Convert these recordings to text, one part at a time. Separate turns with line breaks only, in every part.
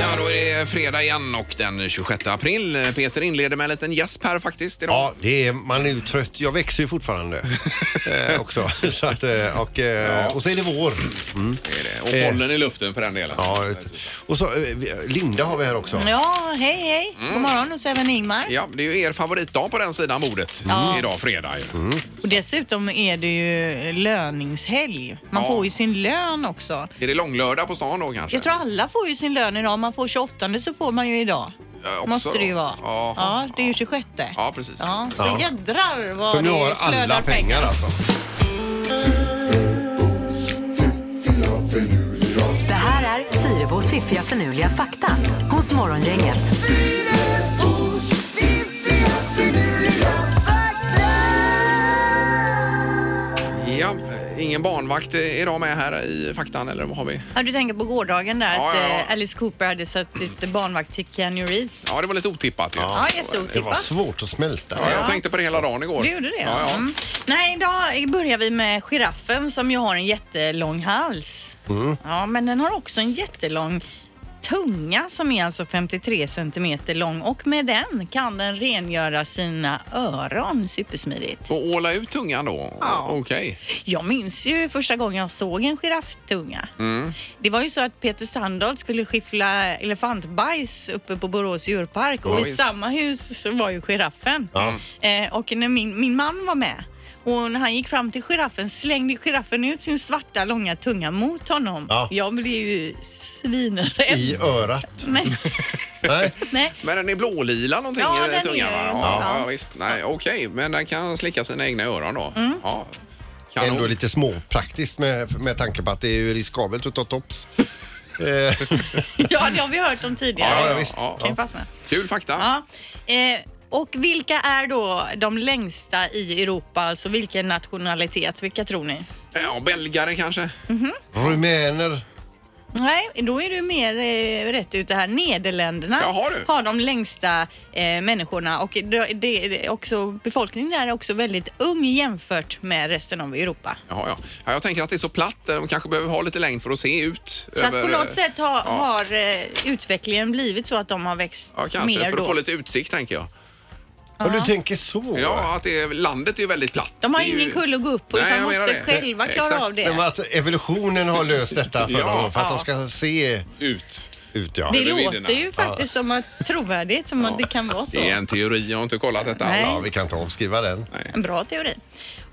Ja, då är det fredag igen och den 26 april. Peter inleder med en liten gäsp här faktiskt idag.
Ja, det är, man är ju trött. Jag växer ju fortfarande eh, också. Så att, eh, och, eh, och så är det vår. Mm.
Det är det. Och bollen i luften för den delen.
Ja, och så, eh, Linda har vi här också.
Ja, hej hej. God morgon hos även Ingmar.
Mm. Ja, det är ju er favoritdag på den sidan bordet idag fredag. ju.
Och dessutom är det ju löningshelg. Man
Ja.
får ju sin lön också.
Är det långlördag på stan då kanske?
Jag tror alla får ju sin lön idag. Om man får 28 så får man ju idag.
Ja, också
Måste det ju
då.
vara.
Ja.
Ja, det är ju 26.
Ja, precis.
Ja, så
Ja.
jädrar vad
Så
det
nu har
flödar
alla pengar alltså.
Det här är Fyrabos fiffiga förnuliga fakta hos Morgongänget.
Ja, ingen barnvakt idag med här i faktan eller vad har vi?
Ja, du tänker på gårdagen där
Ja,
att
ja, ja.
eh, Alice Cooper hade satt ett barnvakt till Keanu Reeves.
Ja, det var lite otippat ju.
Ja,
Det var
jätteotippat.
svårt att smälta.
Ja, jag tänkte på det hela dagen igår.
Du gjorde det?
Ja, ja.
Mm. Nej, idag börjar vi med giraffen som ju har en jättelång hals.
Mm.
Ja, men den har också en jättelång tunga som är alltså 53 centimeter lång och med den kan den rengöra sina öron supersmidigt.
Och åla ut tungan då?
Ja.
Okej.
Jag minns ju första gången jag såg en girafftunga.
Mm.
Det var ju så att Peter Sandahl skulle skiffla elefantbajs uppe på Borås djurpark och
Ja,
i
visst.
samma hus så var ju giraffen. Eh, och när min, min man var med och när han gick fram till giraffen slängde giraffen ut sin svarta långa tunga mot honom.
Ja.
Jag blev ju svinrädd.
I örat.
Men,
Nej.
nej,
Men den är blålila någonting
Ja,
i
den
tungan
är-
va?
ja.
ja, visst. Nej, okej. Men den kan slicka sina egna öron då?
Mm.
Ja. Kanon.
Ändå lite småpraktiskt med, med tanke på att det är ju riskabelt att ta tops. Eh,
ja, det har vi hört om tidigare.
Ja, ja,
visst.
ja.
Kan ju fastna.
Kul fakta.
Ja. Eh, och vilka är då de längsta i Europa? Alltså vilken nationalitet? Vilka tror ni?
Ja, belgare kanske?
Rumäner.
Nej, då är du mer eh, rätt ute här. Nederländerna
Jaha, du.
har de längsta eh, människorna och det, det, det, är också, befolkningen där är också väldigt ung jämfört med resten av Europa.
Jaha, ja. ja. Jag tänker att det är så platt. eh, De kanske behöver ha lite längd för att se ut.
Så att på något
eh,
sätt har, har eh, utvecklingen blivit så att de har växt
Ja, kanske.
mer
för att
då.
få lite utsikt, tänker jag.
Ja, du tänker så.
Ja, att det är, landet är ju väldigt platt.
De har
Det är ju-
ingen kulle att gå upp på
Nej,
utan
jag menar
måste
det.
själva klara
Exakt.
av det.
Men att evolutionen har löst detta för
Ja.
dem för att
Ja.
de ska se
Ut.
ut. Ja.
Det
Över
låter
vidderna.
ju faktiskt som att trovärdigt som att det kan vara så.
Det är en teori. Jag har inte kollat detta
Nej.
Ja, vi kan inte avskriva den.
En bra teori.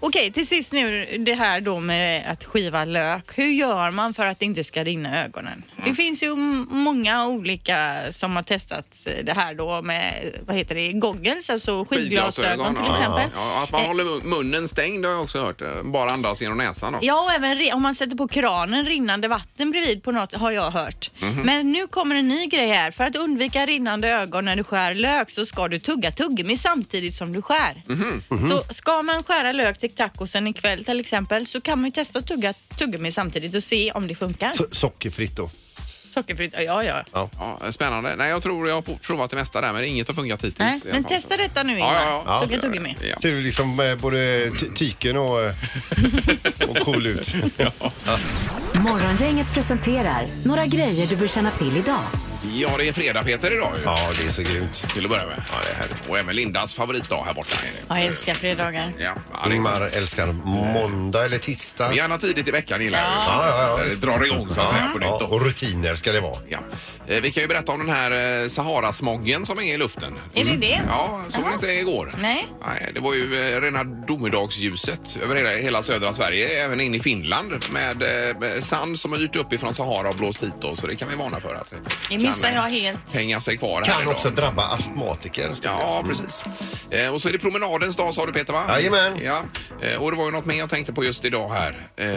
Okej, till sist nu det här då med att skiva lök. Hur gör man för att det inte ska rinna i ögonen?
Mm.
Det finns ju m- många olika som har testat det här då med, vad heter det, goggles, alltså skidglasögon till
ja.
exempel. Eh.
Ja, att man håller mun- munnen stängd har jag också hört. eh, Bara andas genom näsan. Då.
Ja, och även re- om man sätter på kranen rinnande vatten bredvid på något har jag hört. Men nu kommer en ny grej här. För att undvika rinnande ögon när du skär lök så ska du tugga tuggummi samtidigt som du skär.
Mhm.
Så ska man skära lök till tacosen ikväll till exempel så kan man ju testa att tugga tuggummi samtidigt och se om det funkar.
So sockerfritt då.
Sockerfritt, ja ja.
Ja, eh, spännande. Nej, jag tror jag har po- provat det mesta där, men inget har funkat hittills.
Nej,
i alla
men
fall.
testa detta nu
Ja,
Ingmar.
ja, ja.
Tugga tuggummi.
Ja.
Ser du liksom eh, både ty- tyken och, eh, och cool ut.
Morgongänget presenterar några grejer du bör känna till idag.
ja, det är fredag Peter idag ju.
Ja, det är så grymt.
Till att börja med. Ja, det är härligt. Och även Lindas favoritdag här borta. är det.
Ja, Jag älskar fredagar.
Ja, ja, det är-
Ingmar älskar måndag eller tisdag.
Gärna tidigt i veckan gillar jag.
Ja, ja, ja,
När det
visst.
drar igång så att säga på nytt.
Ja,
då.
och rutiner ska det vara.
Ja. Eh, Vi kan ju berätta om den här eh, Saharasmoggen som är i luften.
Är det det?
Mm. Ja, såg ni
Jaha.
inte det igår?
Nej.
det var ju eh, rena domedagsljuset över hela, hela södra Sverige, även in i Finland med, eh, med sand som har dyrt upp ifrån Sahara och blåst hit då, så det kan vi varna för att
Det är
kan
missar jag helt.
hänga sig kvar här
Kan
idag.
också drabba astmatiker.
Ja, precis. Eh, och så är det promenadens dag sa du Peter va?
Jajamän.
Ja. Eh, och det var ju något mer jag tänkte på just idag här. Eh,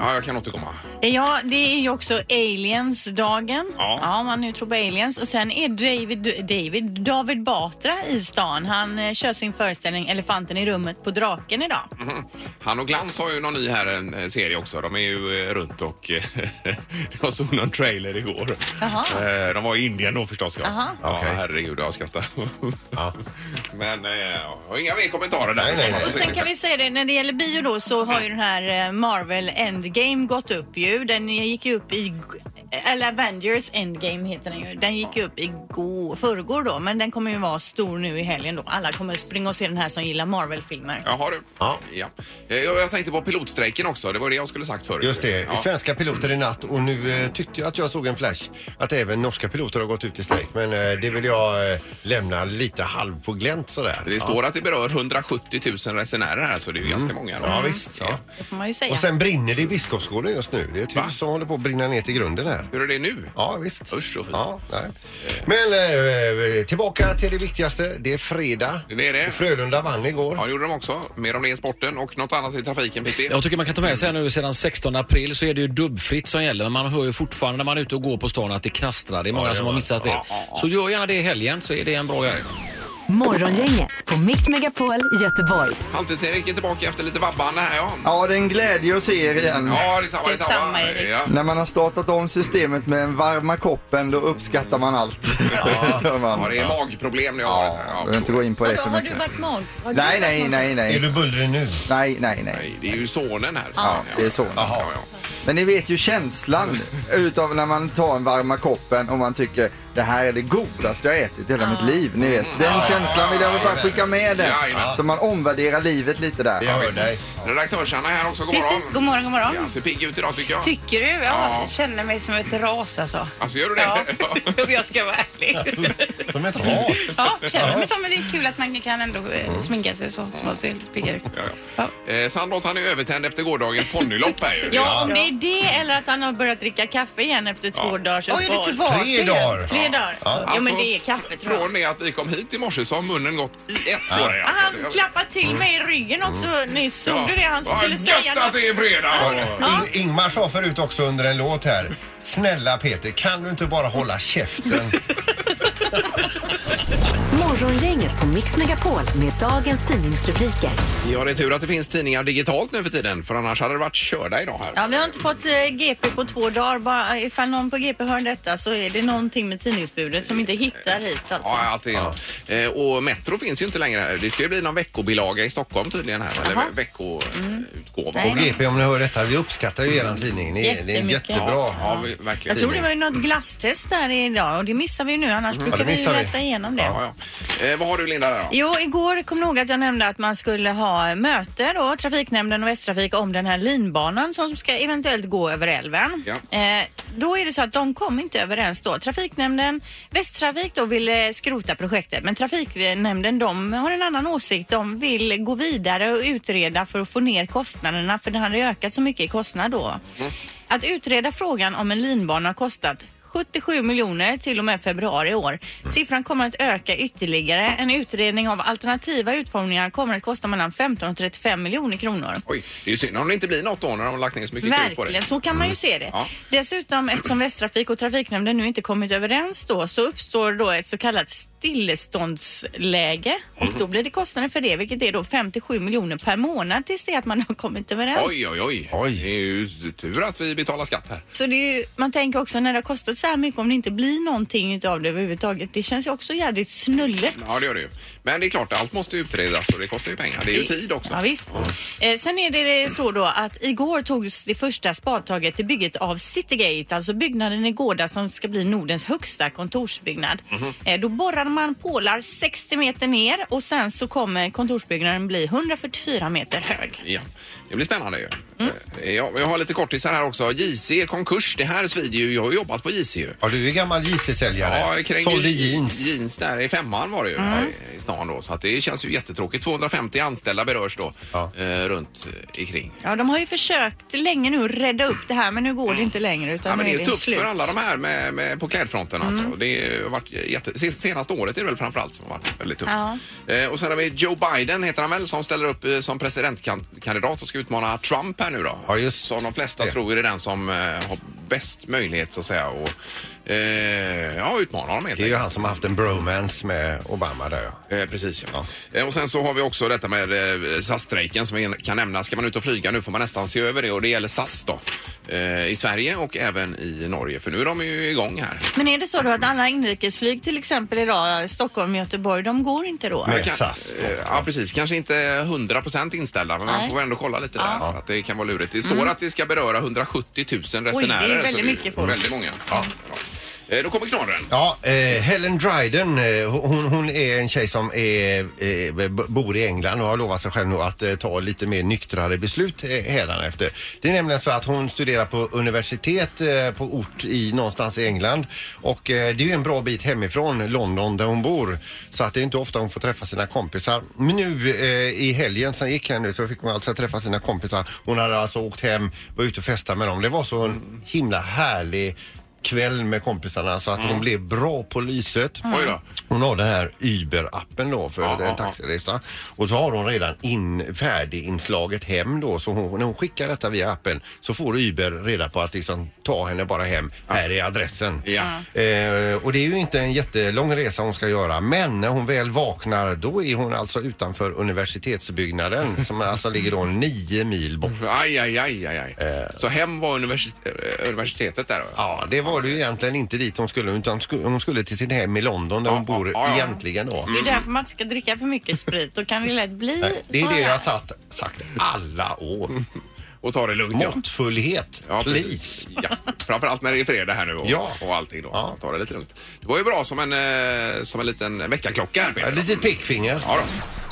ja, jag kan återkomma.
Ja, det är ju också aliens-dagen.
Ja.
Ja. om man nu tror på aliens. Och sen är David, David, David Batra i stan. Han eh, kör sin föreställning Elefanten i rummet på Draken idag.
Mhm.
Mm. Han och Glans har ju någon ny här en eh, serie också. De är ju eh, runt och eh, jag såg någon trailer igår.
Jaha.
Eh, De var i Indien då förstås. Ja,
Jaha.
ja
Okej.
herregud jag skrattar.
Ja.
Men eh, jag har inga mer kommentarer där.
Nej, nej, nej.
Och sen kan vi säga det, när det gäller bio då så har ju den här eh, Marvel Endgame gått upp ju. Den gick ju upp i... eh, Eller Avengers Endgame heter den ju. Den gick ju upp i förrgår då, men den kommer ju vara stor nu i helgen då. Alla kommer springa och se den här som gillar Marvel-filmer.
Jaha du.
Ja.
Ja. Eh, Jag jag tänkte på pilotstrejken också. Det var det jag skulle sagt förut.
Just det,
Ja.
svenska piloter i natt och nu eh, tyckte jag att jag såg en flash att även norska piloter har gått ut i strejk men eh, det vill jag eh, lämna lite halv på glänt sådär.
Det
Ja.
står att det berör 170 000 resenärer här så det är ju ganska många. då.
Ja visst. Ja.
Det får man ju säga.
Och sen brinner det i Biskopsgården just nu. Det är ett hus som håller på att brinna ner till grunden här.
Hur är det nu?
Ja visst.
Usch, så fint.
ja, nej. Men eh, tillbaka till det viktigaste. Det är fredag.
Det är det.
Frölunda vann igår.
Ja, det gjorde de också. Mer om det i sporten och något annat i trafiken, Pitti.
Jag tycker man kan ta med sig här nu sedan 16 april så är det ju dubbfritt som gäller. Men man hör ju fortfarande när man är ute och går på stan att det knastrar. Det är många som har missat det. Så gör gärna det i helgen så är det en bra grej.
Morgongänget på Mix Megapol Göteborg.
Halvtids-Erik är tillbaka efter lite vabbande här ja.
Ja, det är en glädje att se er igen.
Ja, detsamma,
Detsamma, Erik.
Ja.
När man har startat om systemet med den varma koppen, då uppskattar man allt. Ja, man.
Ja, det är magproblem när jag har det här.
Jag vill inte gå in på det
Vadå,
för
har du
mycket.
varit mag? Har du
Nej,
varit
nej,
mag-
nej,
Är
nej.
du bullrig nu?
Nej, nej, nej.
Nej, det är ju sonen här. som-
Ja, det är sonen.
Jaha, ja.
Men ni vet ju känslan utav när man tar en varma koppen och man tycker det här är det godaste jag ätit i hela mitt liv. Ni vet, den känslan vill jag väl bara skicka med den.
Jajamän.
Så man omvärderar livet lite där.
Jag hör dig.
Redaktörs-Hanna är här också. God
Precis, god
morgon.
morgon, god morgon.
Ja, ser pigg ut idag tycker jag.
Tycker du? Ja,
Ja.
Jag känner mig som ett ras alltså.
Alltså, gör du det?
Ja, jag ska vara ärlig.
Som ett ras.
Ja, känner mig som, men det är kul att man kan ändå eh, sminka sig så, så man ser lite piggare ut.
Ja,
Ja.
ja. Eh, Sandholt han är övertänd efter gårdagens ponnylopp här ju.
Ja, om det är det eller att han har börjat dricka kaffe igen efter två dagars
Oj, är du
uppehåll.
tillbaka?
Tre
igen?
dagar.
Tre dagar? Ja,
Alltså,
men det är kaffe tror jag.
Från det att vi kom hit i morse så har munnen gått i ett på dig.
Ah,
alltså. Det-
Han klappade till mig i ryggen också nyss. Såg du det? Han
Ja,
skulle säga
Gött att det är fredag!
In- Ingmar sa förut också under en låt här. Snälla Peter, kan du inte bara hålla käften?
Morgongänget på Mix Megapol med dagens tidningsrubriker.
Ja, det är tur att det finns tidningar digitalt nu för tiden för annars hade det varit körda idag här.
Ja, vi har inte fått eh, GP på två dagar. Bara, eh, ifall någon på GP hör detta så är det någonting med tidningsbudet som inte hittar hit alltså.
Ja, allt är Eh, Och Metro finns ju inte längre här. Det ska ju bli någon veckobilaga i Stockholm tydligen här. Eller
Jaha.
veckoutgåva.
Och GP om ni hör detta, vi uppskattar ju eran tidning. Ni, det är
Jättemycket.
jättebra.
Ja, ja, vi- verkligen.
Jag tror det var ju något glasstest där idag och det missar vi ju nu annars brukar
det
vi ju
missar vi.
läsa igenom det.
Ja, ja. Eh, vad har du Linda där då?
Jo, igår kom nog att jag nämnde att man skulle ha möte då, Trafiknämnden och Västtrafik om den här linbanan som ska eventuellt gå över älven.
Ja.
Eh, då är det så att de kom inte överens då. Trafiknämnden, Västtrafik då ville skrota projektet men Trafiknämnden de har en annan åsikt. De vill gå vidare och utreda för att få ner kostnaderna för den hade ökat så mycket i kostnad då. Att utreda frågan om en linbana har kostat 77 miljoner till och med februari i år. Siffran kommer att öka ytterligare. En utredning av alternativa utformningar kommer att kosta mellan 15 och 35 miljoner kronor.
Oj, det är ju synd om det inte blir något då när de har lagt ner så mycket krut på det. Mm.
Verkligen, så kan man ju se det.
Ja.
Dessutom, eftersom Västtrafik och Trafiknämnden nu inte kommit överens då, så uppstår då ett så kallat stilleståndsläge
Mhm.
och då blir det kostnader för det, vilket är då 57 miljoner per månad tills det att man har kommit överens.
Oj, oj, oj, oj. Det är ju tur att vi betalar skatt här.
Så det är ju, man tänker också när det har kostat så här mycket om det inte blir någonting utav det överhuvudtaget. Det känns ju också jädrigt snullet.
Ja, det gör det ju. Men det är klart, allt måste ju utredas och det kostar ju pengar. Det är ju tid också.
Ja, visst. Eh, sen är det så då att igår togs det första spadtaget till bygget av Citygate, alltså byggnaden i Gårda som ska bli Nordens högsta kontorsbyggnad.
Mhm.
eh, då borrar man pålar 60 meter ner och sen så kommer kontorsbyggnaden bli 144 meter hög.
Ja, det blir spännande ju.
Mm.
Eh, Ja, jag har lite kortisar här också. JC konkurs, det här svider ju. Jag har ju jobbat på JC ju.
Ja, du är gammal JC-säljare.
krängde
Sålde jeans.
Mm.
Jeans där i femman var det ju. här i stan då. Så att det känns ju jättetråkigt. 250 anställda berörs då eh, runt eh, ikring.
Ja, de har ju försökt länge nu att rädda upp det här men nu går det inte längre
Mm.
utan
Ja, men
nu
det är ju tufft
slut. Mm.
för alla de här med, med, på klädfronten alltså. Det har varit jätte, se- senaste året är det väl framförallt som har varit väldigt tufft.
Ja.
Eh, och sen har vi Joe Biden heter han väl som ställer upp eh, som presidentkandidat och ska utmana Trump här nu då.
Ja, just
Som de flesta
det.
tror är den som eh, har bäst möjlighet så att säga och eh, ja, utmana honom helt
Det är ju
enkelt.
han som har haft en bromance med Obama där ja.
Eh, precis ja. Eh, och sen så har vi också detta med eh, SAS-strejken som vi kan nämna. Ska man ut och flyga nu får man nästan se över det och det gäller SAS då. Eh, I Sverige och även i Norge för nu är de ju igång här.
Men är det så då att alla inrikesflyg till exempel idag, Stockholm, Göteborg, de går inte då?
Men-
Man kan-
SAS.
eh, Ja, precis. Kanske inte 100% inställda, men man
Nej. Mm.
får ändå kolla lite där. För att det kan vara lurigt. Det står att det ska beröra 170 000 resenärer.
det är
så
väldigt mycket folk. Mm.
Väldigt många. Ja. Ja. Eh, Då kommer knorren.
Ja, eh, Helen Dryden, eh, hon, hon är en tjej som är, eh, b- bor i England och har lovat sig själv nu att eh, ta lite mer nyktrare beslut eh, hädanefter. Det är nämligen så att hon studerar på universitet eh, på ort i någonstans i England och eh, det är ju en bra bit hemifrån London där hon bor så att det är inte ofta hon får träffa sina kompisar. Men nu eh, i helgen som gick här nu så fick man alltså träffa sina kompisar. Hon hade alltså åkt hem, var ute och festat med dem. Det var så en himla härlig kväll med kompisarna så att de blev bra på lyset.
Mm. Oj då.
Hon har den här Uber-appen då för
Ja, ja,
en taxiresa. Och så har hon redan in, färdiginslaget hem då så hon, när hon skickar detta via appen så får Uber reda på att liksom ta henne bara hem. Här är adressen.
Ja.
Eh, och det är ju inte en jättelång resa hon ska göra men när hon väl vaknar då är hon alltså utanför universitetsbyggnaden som alltså ligger då nio mil bort.
Aj, aj, aj, aj, aj.
Eh.
Så hem var universit- eh, universitetet där då?
Ja, det var det ju egentligen inte dit hon skulle utan sku- hon skulle till sitt hem i London där
Ja,
hon bor
ja, ja.
egentligen då.
Det är därför man inte ska dricka för mycket sprit, då kan det lätt bli
Det är
så
det
här.
jag har sagt, sagt alla år.
Och ta det lugnt ja.
Måttfullhet,
Ja,
please.
precis. Ja. Framförallt när det är fredag här nu och,
Ja.
och allting då.
Ja.
Ta det lite lugnt. Det var ju bra som en, eh, som en liten väckarklocka här Peter.
Ett litet pickfinger.
Ja, då.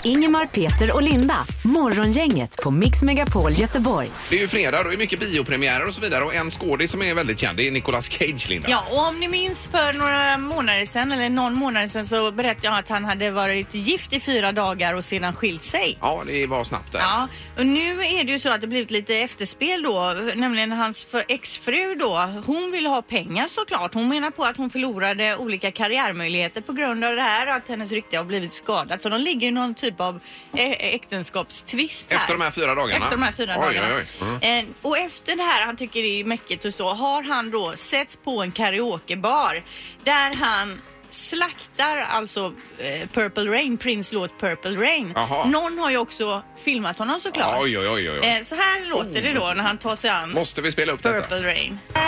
Ingemar, Peter och Linda. Morgongänget på Mix Megapol Göteborg.
Det är ju fredag och det är mycket biopremiärer och så vidare och en skådis som är väldigt känd det är Nicolas Cage Linda.
Ja, och om ni minns för några månader sedan, eller någon månad sedan, så berättade jag att han hade varit gift i fyra dagar och sedan skilt sig.
Ja, det var snabbt där.
Ja, och nu är det ju så att det blivit lite efterspel då, nämligen hans för exfru då. Hon vill ha pengar såklart. Hon menar på att hon förlorade olika karriärmöjligheter på grund av det här och att hennes rykte har blivit skadat. Så de ligger i någon typ av ä- äktenskapstvist här.
Efter de här fyra dagarna?
Efter de här fyra
Oj,
dagarna.
oj, Mm. oj.
Eh, och efter det här, han tycker det är mäckigt och så, har han då setts på en karaokebar där han slaktar alltså eh, Purple Rain, Prince låt Purple Rain.
Jaha.
Någon har ju också filmat honom såklart.
Oj, oj, oj, oj.
Eh, så här låter det då när han tar sig an
Måste vi spela upp detta?
Purple Rain. Det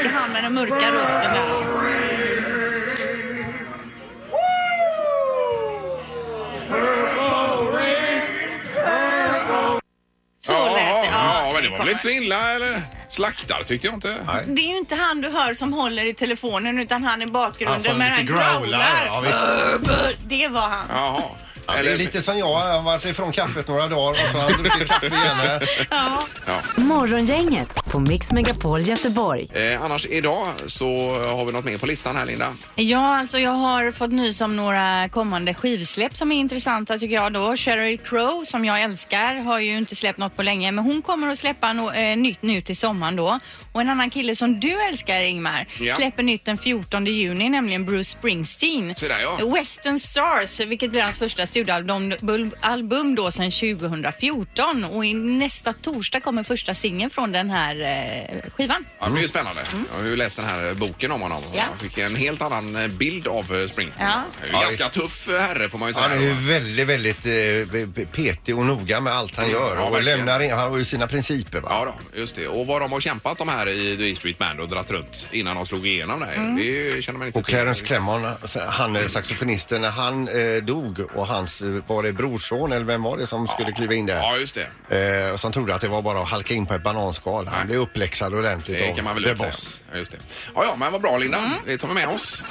är han med den mörka rösten där. alltså. Så
ja,
lät det.
ja, ja, men det var väl inte så illa eller? Slaktar tyckte jag inte. Nej.
Det är ju inte han du hör som håller i telefonen utan han i
Han som
bakgrunden. men han Äh,
lite growlar. Ja, visst.
Det var han.
Jaha.
Ja, det är lite som jag, jag har varit ifrån kaffet några dagar och så har jag druckit kaffe igen här.
Ja.
Morgongänget på Mix Megapol Göteborg.
Eh, annars idag så har vi något mer på listan här Linda.
Ja, alltså jag har fått nys om några kommande skivsläpp som är intressanta tycker jag då. Sheryl Crow, som jag älskar, har ju inte släppt något på länge, men hon kommer att släppa något eh, nytt nu till sommaren då. Och en annan kille som du älskar, Ingmar,
Ja.
släpper nytt den 14 juni, nämligen Bruce Springsteen.
Så där, ja.
Western Stars, vilket blir hans första studioalbum bul- album då sedan 2014. Och i nästa torsdag kommer första singeln från den här eh, skivan.
Ja, det
Mm.
blir ju spännande. Jag har ju läst den här boken om honom.
Mm. Ja.
Jag fick en helt annan eh, bild av eh, Springsteen.
Ja.
Han är ju Ganska tuff eh, herre får man ju säga.
Han är ju väldigt, väldigt eh, petig och noga med allt han
Mm,
gör.
ja,
och
verkligen.
lämnar in, han har ju sina principer va?
Ja då, just det. Och vad de har kämpat de här i The E Street Band och dratt runt innan de slog igenom det här.
Mm.
Det är ju- känner man inte
Och
till.
Clarence Clemmon, han eh, saxofonisten, när han eh, dog och hans, eh, var det brorson eller vem var det som skulle kliva in där?
Ja, just det.
Eh, och som trodde att det var bara att halka in på ett bananskal. Han blir uppläxad ordentligt
Det
av
kan man väl
The
lugnt säga.
Boss.
Ja, just det. Ja, ja, men vad bra Linda. Det tar vi med oss.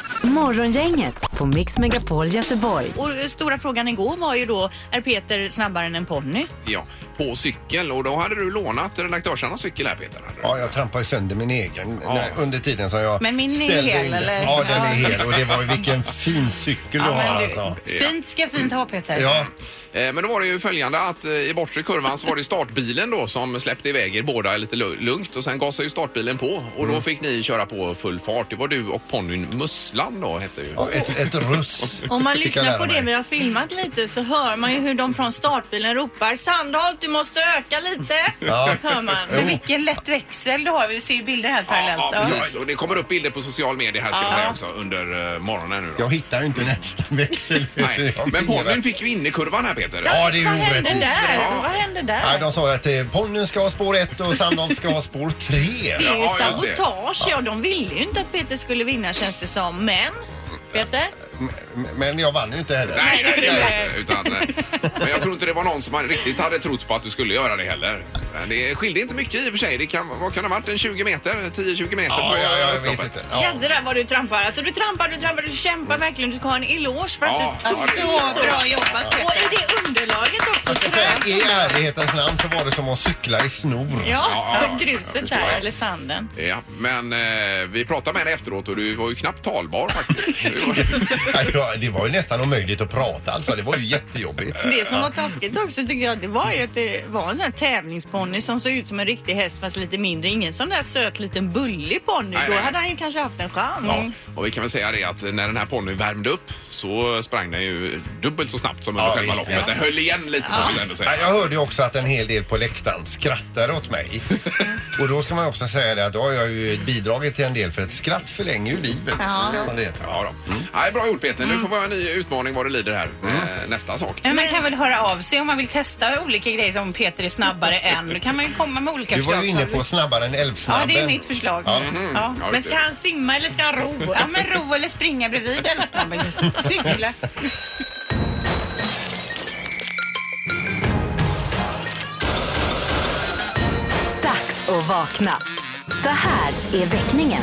Morgongänget på Mix Megapol Göteborg.
Och eh, stora frågan igår var ju då, är Peter snabbare än en ponny?
Ja, på cykel. Och då hade du lånat redaktörsarnas cykel här Peter. hade du?
Ja, jag trampade sönder min egen
Ja.
när- under tiden som jag
Men min är
ställde
hel,
in den.
eller?
Ja, den är
Ja.
hel och det var ju vilken fin cykel du
Ja,
har
men
alltså.
du, fint ska fint ha Peter.
Ja,
Eh, Men då var det ju följande att eh, i bortre kurvan så var det startbilen då som släppte iväg er båda lite lu- lugnt och sen gasade ju startbilen på och
Mm.
då fick ni köra på full fart. Det var du och ponnyn Musslan då hette ju.
ja, ett, ett russ.
Om man
fick jag
lyssnar
lära
på det,
mig.
vi har filmat lite, så hör man ju hur de från startbilen ropar Sandholt, du måste öka lite.
Ja.
Hör man.
Men vilken lätt växel du har. Vi ser ju bilder här parallellt.
Ja,
Ja.
precis. Och det kommer upp bilder på social media här ska vi säga också under eh, morgonen nu då.
Jag hittar ju inte nästa växel.
Nej.
Jag
Men
fingrar.
ponnyn fick ju in i kurvan här Peter.
Ja, det är
Vad
ju
hände
orättvist.
där?
Ja.
Vad hände där?
Nej, de sa ju att eh, ponnyn ska ha spår 1 och Sandholt ska ha spår 3.
Det är ju
Ja, just det.
sabotage. Ja, de ville ju inte att Peter skulle vinna känns det som. Men, Peter?
Men jag vann ju inte heller.
Nej, nej, det var inte, utan, eh, men jag tror inte det var någon som hade- riktigt hade trott på att du skulle göra det heller. Men det skilde inte mycket i och för sig. Det kan, vad kan det ha varit? En 20 meter? 10-20 meter?
Ja,
på eh,
jag, jag
upploppet.
vet inte.
Ja.
Ja.
Jädrar vad du trampar. Alltså du trampar, du trampar, du kämpar verkligen. Du ska ha en eloge för att
Ja,
du tog
ja, det
dig
är
Så
så bra.
bra jobbat
Och i
Peter.
det underlaget också.
Jag ska säga, I ärlighetens namn så var det som att cykla i snor.
Ja, ja,
Ja,
jag
gruset
förstår
där,
det.
eller sanden.
Ja, men eh, vi pratade med henne efteråt och du var ju knappt talbar faktiskt. Du var-
Ja, det var- Det var ju nästan omöjligt att prata alltså. Det var ju jättejobbigt.
Det som var taskigt också tycker jag, det var ju att det var en sån här tävlingsponny som såg ut som en riktig häst fast lite mindre. Ingen sån där söt liten bullig ponny.
Nej,
Då
nej.
hade han ju kanske haft en chans.
ja, och vi kan väl säga det att när den här ponnyn värmde upp så sprang den ju dubbelt så snabbt som under
Ja,
själva
visst,
loppet.
ja.
Den höll igen lite får man väl ändå
Ja,
säga.
jag hörde ju också att en hel del på läktaren skrattade åt mig. Och då ska man också säga det att då har jag ju bidragit till en del för ett skratt förlänger ju livet. Som det heter.
Ja, då. Mm. Nej, bra gjort Peter. Nu får vi ha en ny utmaning vad det lider här.
Mm.
Eh, nästa sak.
Men man kan väl höra av sig om man vill testa olika grejer som Peter är snabbare än. Då kan man ju komma med olika
Du var ju inne på
förslag.
snabbare än
Ja,
Älvsnabben.
det är mitt förslag. Mm.
Ja.
Ja.
Ja,
Men
just
ska
det.
han simma eller ska han ro? Ja, men ro eller springa bredvid Älvsnabben. Cykla.
Dags att vakna. Det här är väckningen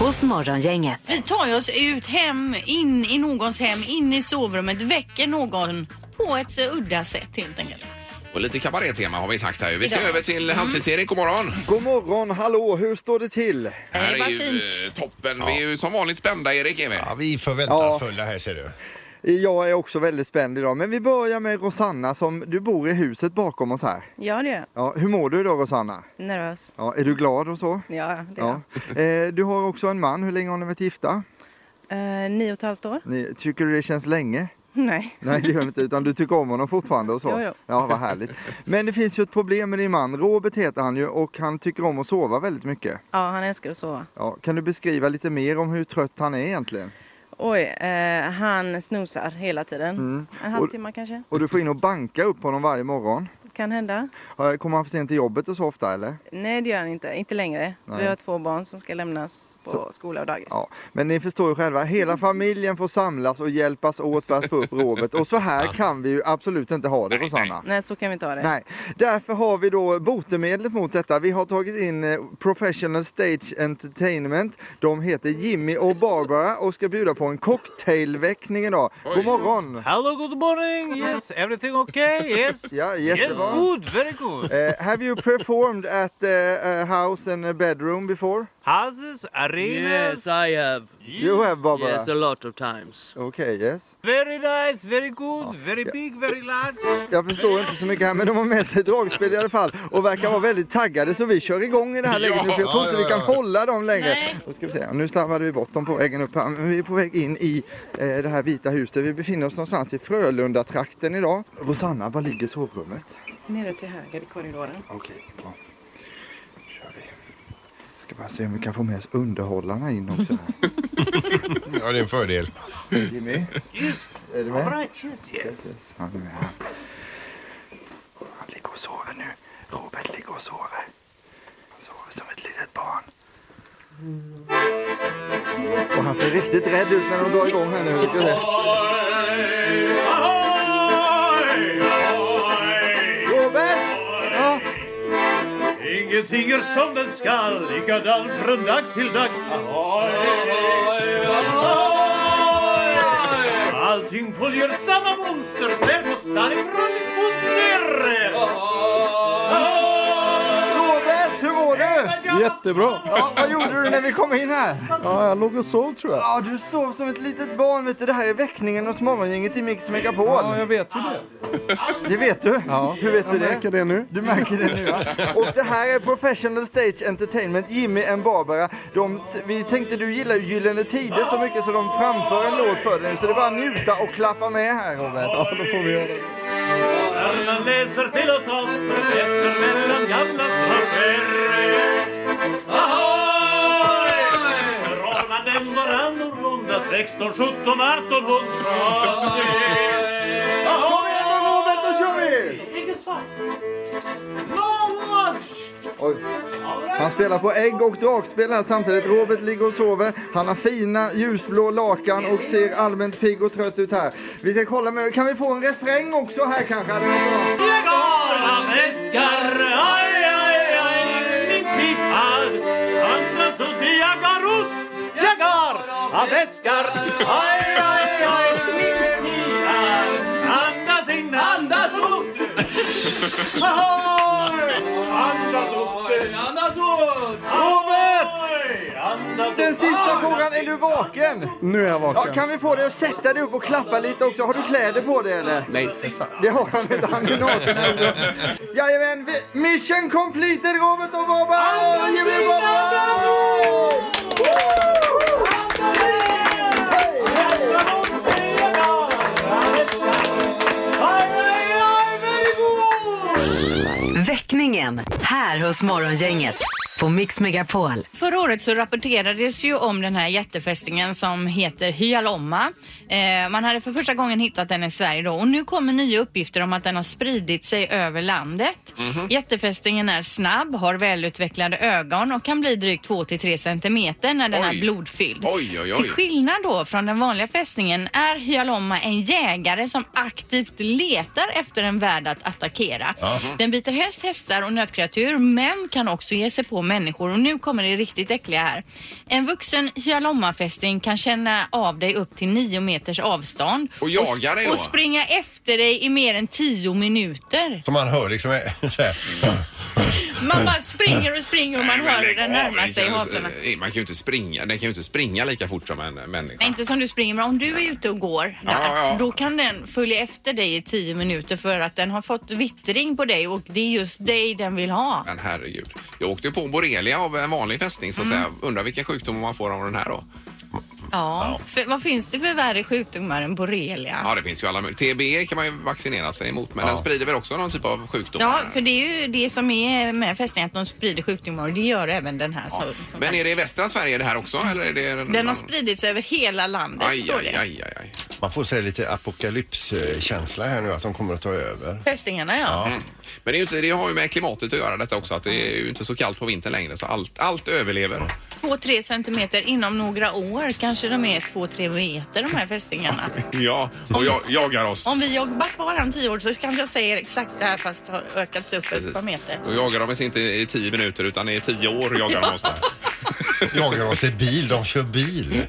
hos Morgongänget.
Vi tar ju oss ut hem, in i någons hem, in i sovrummet, väcker någon på ett eh, udda sätt helt enkelt.
Och lite kabarettema har vi sagt här. Vi ska
Idag.
över till halvtids-Erik. God morgon!
God morgon, hallå, hur står det till?
Det här är
Eh, vad
ju
fint.
eh, toppen. Vi är ju som vanligt spända Erik. Är vi.
Ja, vi är förväntansfulla här ser du.
Jag är också väldigt spänd idag, men vi börjar med Rosanna som du bor i huset bakom oss här.
Ja, det är
Ja, hur mår du idag Rosanna?
jag. Nervös.
Ja, är du glad och så?
Ja, det är
Ja. Eh, Du har också en man, hur länge har ni varit gifta?
jag. Eh, nio och ett halvt år?
Ni, tycker du det känns länge?
Nej.
Nej det gör det inte, utan du tycker om honom fortfarande och så?
Jo, jo.
Ja, vad härligt. Men det finns ju ett problem med din man, Robert heter han ju och han tycker om att sova väldigt mycket.
Ja, han älskar att sova.
Ja, kan du beskriva lite mer om hur trött han är egentligen?
Oj, eh, han snoozar hela tiden. En halvtimme kanske?
Mm. Och du får in och banka upp honom varje morgon.
Kan hända.
Eh, Kommer han för sent till jobbet och så ofta eller?
Nej, det gör han inte. Inte längre.
Nej.
Vi har två barn som ska lämnas på skola och dagis.
Ja, men ni förstår ju själva, hela familjen får samlas och hjälpas åt för att få upp Robert. Och så här kan vi ju absolut inte ha det Rosanna.
Nej, så kan vi inte ha det.
Nej, därför har vi då botemedlet mot detta. Vi har tagit in eh, Professional Stage Entertainment. De heter Jimmy och Barbara och ska bjuda på en cocktailväckning idag. God morgon!
Hello, good morning. Yes, everything okay? Yes.
Ja,
Yes,
jättebra.
good, very good.
Eh, have you performed at uh, a house and a bedroom before?
Houses, arenas.
Yes, I have.
You have Barbara?
Yes, a lot of times.
Okej, yes.
Very nice, very good, very big, very large.
Jag förstår inte så mycket här men de har med sig dragspel i alla fall och verkar vara väldigt taggade så vi kör igång i det här läget nu för jag tror inte vi kan hålla dem längre. Då ska vi se. Nu slarvade vi bort dem på vägen upp här men vi är på väg in i eh, det här vita huset. Vi befinner oss någonstans i Frölunda-trakten idag. Rosanna, var ligger sovrummet?
Nere till höger i korridoren.
Okej, bra. Då kör vi. Ska bara se om vi kan få med oss underhållarna in också. här.
Ja, det är en fördel.
Jimmy,
Yes,
är
all
du med?
right, yes, yes.
Precis, han är med här. Han ligger och sover nu. Robert ligger och sover. Han sover som ett litet barn. Och han ser riktigt rädd ut när de drar igång här nu. Ska vi se. Robert! Ja.
Inget
Vilket tiger som den skall, likadan från dag till dag. Allting följer samma mönster, ser på stan ifrån mitt fönster.
Robert, hur mår du?
Jättebra.
Ja, vad gjorde du när vi kom in här?
Ja, jag låg och sov tror jag.
Ja, du sov som ett litet barn. Vet du, det här är väckningen hos morgongänget i Mix Megapol.
Ja,
jag vet ju det. Det vet du?
Ja.
Hur vet du
jag
det?
märker det nu.
Du märker det nu ja. Och det här är Professional Stage Entertainment, Jimmy and Barbara. De, vi tänkte du gillar ju Gyllene Tider så mycket så de framför en låt för dig. Så det är bara att njuta och klappa med här Robert. Ja, då får vi göra det.
Stjärnan läser till oss oss, berättar mellan gamla strömmar. Ahoy! Drar man den var annorlunda 16, 17, 1800. Ahoy!
Robert, då kör vi!
Ingen sak. No one!
Oj. Han spelar på ägg och dragspel här samtidigt. Robert ligger och sover. Han har fina ljusblå lakan och ser allmänt pigg och trött ut här. Vi ska kolla med... Kan vi få en refräng också här kanske? Hade varit bra.
Jag har han älskar, aj, aj, aj, min tid han Annars så till jag går ut, jag har han älskar, aj, aj, aj, min tid han Andas in, andas ut, ahoy, andas ut, andas ut, Robert!
Den sista frågan, är du vaken?
Nu är jag
Ja,
vaken.
kan vi få dig att sätta dig upp och klappa lite också? Har du kläder på dig eller?
Nej, för fan.
Det har han inte, han är naken alltså. Jajamän, vi- mission completed Robert och Barbara! Jimmy och
Väckningen här hos Morgongänget på Mix Megapol.
Förra året så rapporterades ju om den här jättefästingen som heter Hyalomma. Eh, man hade för första gången hittat den i Sverige då och nu kommer nya uppgifter om att den har spridit sig över landet.
Mhm.
Jättefästingen är snabb, har välutvecklade ögon och kan bli drygt 2-3 centimeter när den är blodfylld.
Oj, oj,
Till
oj.
skillnad då från den vanliga fästningen är Hyalomma en jägare som aktivt letar efter en värld att attackera.
Jaha.
Den biter helst hästar och nötkreatur men kan också ge sig på människor och nu kommer det riktigt äckliga här. En vuxen Hyalommafästing kan känna av dig upp till 9 meters avstånd
Och jaga dig då?
och springa efter dig i mer än 10 minuter.
Som man hör liksom eh, så här.
Man bara springer och springer och man hör hur den närmar sig hasorna.
Eh, Man kan ju inte springa. Den kan ju inte springa lika fort som en eh, människa.
Nej, inte som du springer, men om du är ute och går där,
Ja, ja.
då kan den följa efter dig i tio minuter för att den har fått vittring på dig och det är just dig den vill ha.
Men herregud. Jag åkte ju på borrelia av en vanlig fästning så att
Mm.
säga. Undrar vilka sjukdomar man får av den här då?
Ja. För, vad finns det för värre sjukdomar än borrelia?
Ja, det finns ju alla möjliga. TBE E kan man ju vaccinera sig emot men den sprider väl också någon typ av sjukdom?
Ja, för det är ju det som är med fästingar, att de sprider sjukdomar och det gör även den här. som- som
Men är det i västra Sverige det här också eller är det... en-
Den har spridit sig över hela landet,
Aj,
står det.
aj, aj, aj, aj.
Man får säga lite apokalypskänsla här nu att de kommer att ta över.
Fästingarna, ja.
Ja.
Mm. Men det, är ju inte, det har ju med klimatet att göra detta också. Att det är ju inte så kallt på vintern längre så allt, allt överlever.
Två-tre centimeter inom några år kanske de är två-tre meter, de här fästingarna.
Ja, och jag, jagar oss.
Om vi jobbar kvar om tio år så kanske jag säger exakt det här fast har ökat upp ett par meter.
Då jagar de oss inte i tio minuter utan i tio år jagar de oss. där.
Jagar oss i bil, de kör bil.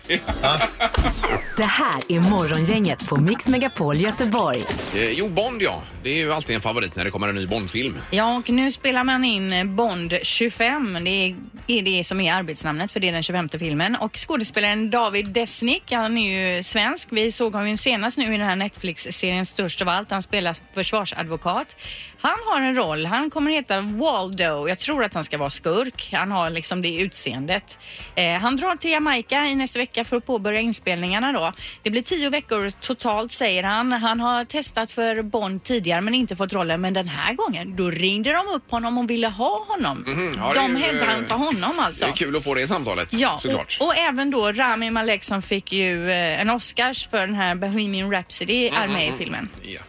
Det här är Morgongänget på Mix Megapol Göteborg.
Eh, Jo, Bond ja. Det är ju alltid en favorit när det kommer en ny Bondfilm.
Ja, och nu spelar man in Bond 25. Det är- är det som är arbetsnamnet för det är den 25 filmen. Och skådespelaren David Desnick, han är ju svensk. Vi såg honom ju senast nu i den här Netflix-serien Störst av allt. Han spelar försvarsadvokat. Han har en roll. Han kommer heta Waldo. Jag tror att han ska vara skurk. Han har liksom det utseendet. Eh, han drar till Jamaica i nästa vecka för att påbörja inspelningarna då. Det blir tio veckor totalt säger han. Han har testat för Bond tidigare men inte fått rollen. Men den här gången, då ringde de upp honom och ville ha honom.
Mhm, ja, det är ju,
de headhuntade
eh,
honom
Det
alltså.
är kul att få det samtalet
Ja,
såklart.
och, och även då Rami Malek som fick ju eh, en Oscars för den här Bohemian Rhapsody
Mm,
är med i filmen.
Ja.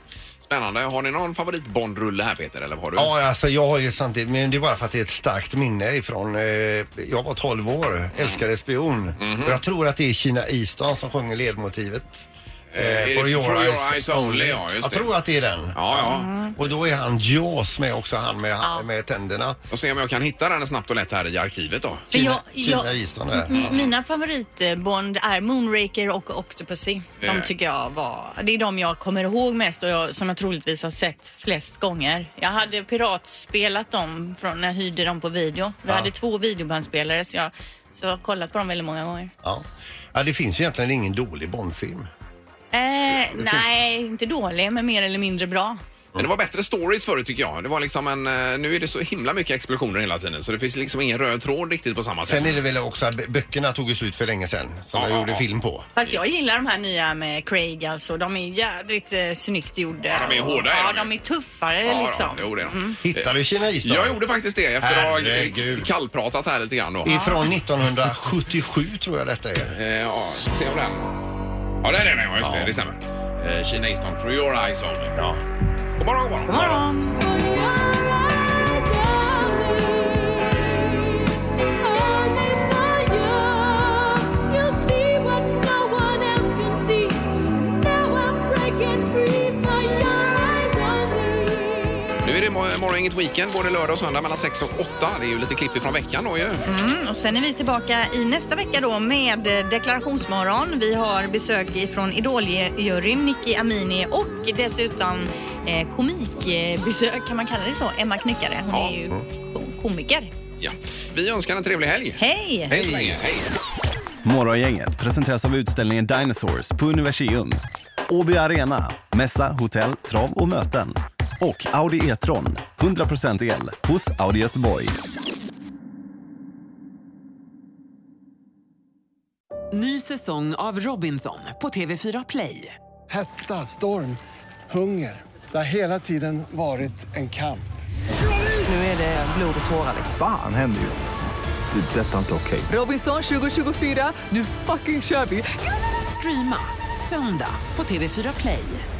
Spännande. Har ni någon favorit Bond-rulle här Peter? Eller har du?
Ja, alltså jag har ju samtidigt, men det är bara för att det är ett starkt minne ifrån, eh, jag var
Mhm.
12 år, älskade spion. Och jag tror att det är Kina Easton som sjunger ledmotivet. Eh,
for your eyes only, ja, just
jag
det.
tror att det är den.
Ja, ja.
Och då är han Jaws med också, han med, med tänderna.
Och se om jag kan hitta den snabbt och lätt här i arkivet då.
För jag- jag- Mm.
Easton
M- Mina favoritbond är Moonraker och Octopussy. De
Eh.
tycker jag var... Det är de jag kommer ihåg mest och jag, som jag troligtvis har sett flest gånger. Jag hade piratspelat dem från när jag hyrde dem på video. Vi
Ja.
hade två videobandspelare så jag, så jag har kollat på dem väldigt många gånger.
Ja. ja, det finns ju egentligen ingen dålig Bondfilm.
Eh, nej, inte dålig men mer eller mindre bra.
Men det var bättre stories förut tycker jag. Det var liksom en, eh, nu är det så himla mycket explosioner hela tiden så det finns liksom ingen röd tråd riktigt på samma sätt.
Sen är det väl också att bö- böckerna tog ju slut för länge sedan som jag gjorde film på.
Fast jag gillar de här nya med Craig alltså. De är jädrigt eh, snyggt gjorda.
Ja, de är hårda,
Ja,
är de
de är tuffare
Ja,
liksom.
då, jo, det är de.
Hittar du Kina Easton?
Jag gjorde faktiskt det efter att ha eh, kallpratat här lite grann då.
Ifrån 1977 tror jag detta är.
Eh, ja, ska se om den. Ja, där är den ja, just det. Det stämmer. Eh, Kina Easton, through your eyes only. Ja. God morgon, god morgon. God
morgon.
Nu är det mor- morgon, inget weekend, både lördag och söndag mellan 6 och 8. Det är ju lite klipp ifrån veckan då ju.
Mm, och sen är vi tillbaka i nästa vecka då med eh, deklarationsmorgon. Vi har besök ifrån Idoljuryn, Nicky Amini och dessutom eh, komikbesök, kan man kalla det så? Emma Knyckare, hon är ju ko- komiker.
Ja. Vi önskar en trevlig helg.
Hej!
Hej! så länge. Hej.
Morgongänget presenteras av utställningen Dinosaurs på Universium, Åby Arena, mässa, hotell, trav och möten. Och Audi E-tron, 100% el, hos Audi Göteborg.
Ny säsong av Robinson på TV4 Play.
Hetta, storm, hunger. Det har hela tiden varit en kamp.
Nu är det blod och tårar. liksom.
Fan händer just det. Det är detta inte okej.
Robinson 2024, nu fucking kör vi! Streama söndag på TV4 Play.